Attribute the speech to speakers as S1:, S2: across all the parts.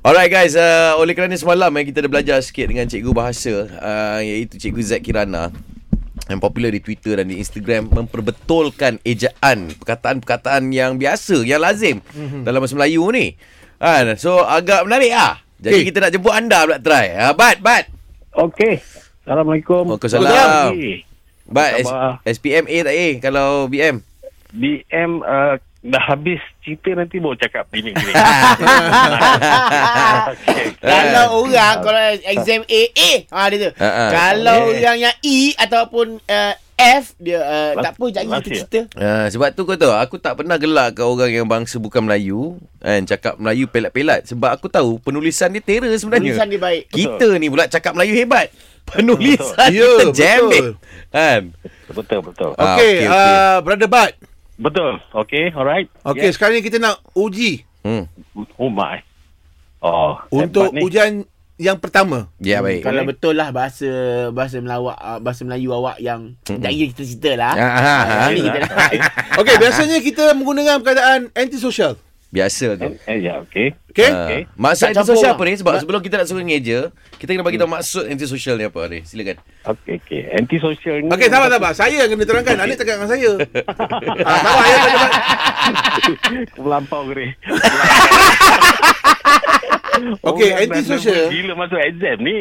S1: Alright guys, uh, oleh kerana semalam eh, kita dah belajar sikit dengan cikgu bahasa uh, iaitu cikgu Zack Kirana yang popular di Twitter dan di Instagram memperbetulkan ejaan perkataan-perkataan yang biasa, yang lazim
S2: Mhm.
S1: mm-hmm. dalam bahasa Melayu ni. Kan? So agak menarik ah. Jadi
S2: Eh.
S1: kita nak jemput anda pula try. Uh, bat, bat.
S3: Okey. Assalamualaikum.
S1: Waalaikumsalam. Bat S-
S3: Khabar?
S1: SPM A tak A kalau BM.
S3: DM uh, dah habis cerita nanti baru cakap gini gini. Okey.
S2: Kalau orang kalau exam A A ha dia tu.
S1: Eh. Ha, ha.
S2: Kalau
S3: Yeah.
S4: Eh.
S2: orang yang E ataupun uh, F dia uh,
S3: Mas-
S2: tak apa jangan
S3: masih.
S2: kita cerita.
S1: Ha, sebab tu kau tahu aku tak pernah gelak ke orang yang bangsa bukan Melayu kan cakap Melayu pelat-pelat sebab aku tahu penulisan dia terror sebenarnya.
S2: Tulisan dia baik.
S1: kita ni pula cakap Melayu hebat. Penulisan
S4: Betul. Ya,
S1: kita
S4: betul.
S1: jammit. Kan?
S3: Betul betul.
S1: Ah,
S4: Okey,
S1: okey,
S4: okay,
S1: okey.
S4: uh, Brother Bat.
S3: Betul. Okey, alright.
S4: Okey, yeah. sekarang ni kita nak uji
S1: Hmm.
S3: Yeah. Oh my. Oh.
S4: untuk
S3: hebat ni.
S4: ujian yang pertama.
S1: Ya baik.
S2: Kalau betul lah bahasa bahasa Melawak uh, bahasa Melayu awak yang tak kira kita cerita lah.
S1: Ah, ah, ah.
S2: Ah, ni kita dah-
S4: Okey, biasanya kita menggunakan perkataan antisocial.
S1: Biasa tu.
S3: Eh, eh, ya, okey.
S4: Okey?
S1: Okay.
S3: Okey.
S1: Uh, maksud
S2: Tak campur
S1: antisosial
S2: lah.
S1: apa ni? Sebab sebelum kita nak suruh ngeja, kita kena bagi tahu maksud antisosial ni apa ni. Silakan.
S3: Okey, okey. Antisocial ni.
S4: Okey, sabar, sabar. Saya yang kena terangkan. Anik terangkan dengan saya. ah, sabar, ya, Brother Bat.
S3: Melampau gerik.
S4: Okey,
S3: Orang dah
S4: antisocial.
S3: nervous Gila masuk exam ni.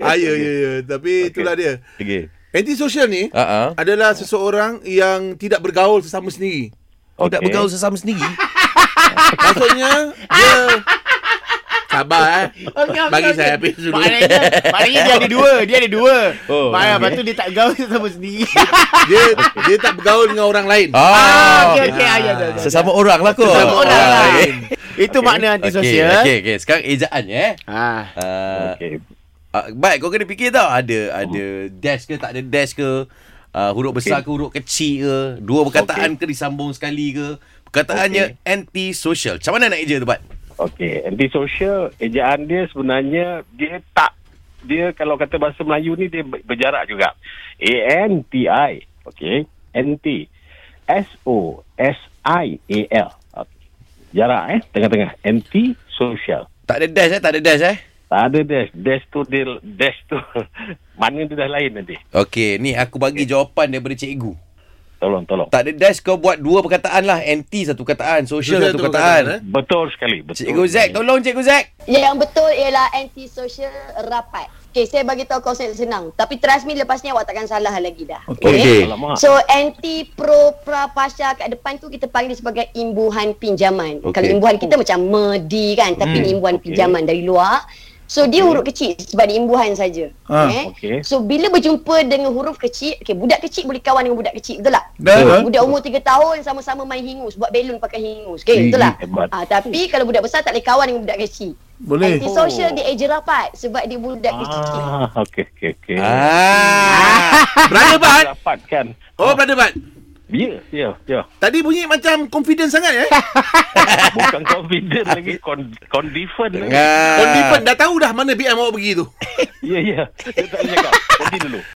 S4: ah, ya, ya, ya. Tapi itulah dia.
S1: Okey.
S4: Antisocial ni
S1: Ha ah. Uh-huh.
S4: adalah seseorang yang tidak bergaul sesama sendiri.
S1: Tidak
S3: Okey.
S1: bergaul sesama sendiri.
S4: Maksudnya, dia... Sabar, eh.
S2: Okey,
S4: Bagi
S2: okey,
S4: saya
S2: okey.
S4: habis dulu.
S2: Maknanya, maknanya dia ada dua, dia ada dua.
S1: Oh,
S2: Oh, Maknanya lepas tu dia tak gaul sama sendiri.
S4: Dia, dia tak bergaul dengan orang lain.
S2: ah,
S1: Ah.
S2: okey okey ah, ya, ya, ya.
S1: Sesama orang lah kot.
S2: Sesama orang
S1: Ah,
S2: lah.
S1: okey.
S2: Itu makna antisosial.
S1: Okey, okey. Sekarang ejaan ya. Eh?
S2: Ah.
S1: Uh,
S3: Okey.
S1: Uh, baik kau kena fikir tau ada ada dash ke tak ada dash ke uh, huruf besar ke huruf kecil ke dua perkataan okay. ke disambung sekali ke perkataannya anti social macam mana nak eja tu bat
S3: Okey, antisocial ejaan dia sebenarnya dia tak dia kalau kata bahasa Melayu ni dia ber- berjarak juga. A N T I. Okey, anti. S O S I A L. Okey. Jarak eh tengah-tengah. Anti social.
S1: tak ada dash eh tak ada dash eh
S3: Tak ada dash. Dash tu dia dash tu mana tu dah lain nanti.
S1: Okey, ni aku bagi jawapan daripada cikgu.
S3: Tolong tolong.
S1: Tak ada dash kau buat dua perkataan lah. Anti satu kataan, social
S4: Social
S1: satu eh?
S4: satu
S1: kataan.
S4: perkataan,
S3: Betul sekali. Betul.
S1: Cikgu Zack, tolong Cikgu Zack.
S5: Yang betul ialah anti-social rapat. Okay, saya bagi tahu konsep senang. Tapi trust me lepas ni awak takkan salah lagi dah.
S1: Okey.
S3: Alamak.
S5: So anti pro pra pasca kat depan tu kita panggil dia sebagai imbuhan pinjaman.
S1: Okey.
S5: Okay. Kalau imbuhan kita macam medi kan tapi ni imbuhan
S3: Okey.
S5: pinjaman dari luar. So dia huruf kecil sebab dia imbuhan saja. Eh?
S4: Ah,
S3: okey.
S5: So bila berjumpa dengan huruf kecil, okay, budak kecil boleh kawan dengan budak kecil betul tak?
S4: Dah.
S5: Budak umur 3 tahun sama-sama main hingus, buat belon pakai hingus. Okay, betul tak?
S3: hebat.
S5: Ah, tapi kalau budak besar tak boleh kawan dengan budak kecil.
S4: Boleh.
S5: Anti
S3: Oh.
S5: social dia eja rapat sebab dia budak kecil.
S3: Ah, okey okey okey.
S1: Ah.
S4: Brother Bat.
S3: Dapatkan.
S4: Oh, Brother Bat.
S3: Ya, ya, ya.
S4: Tadi bunyi macam confident sangat, eh.
S3: Bukan confident lagi con confident lagi.
S1: Ah.
S4: Confident. Dah tahu dah mana BM awak pergi tu.
S3: Ya ya. Dia tak boleh cakap. Pergi dulu.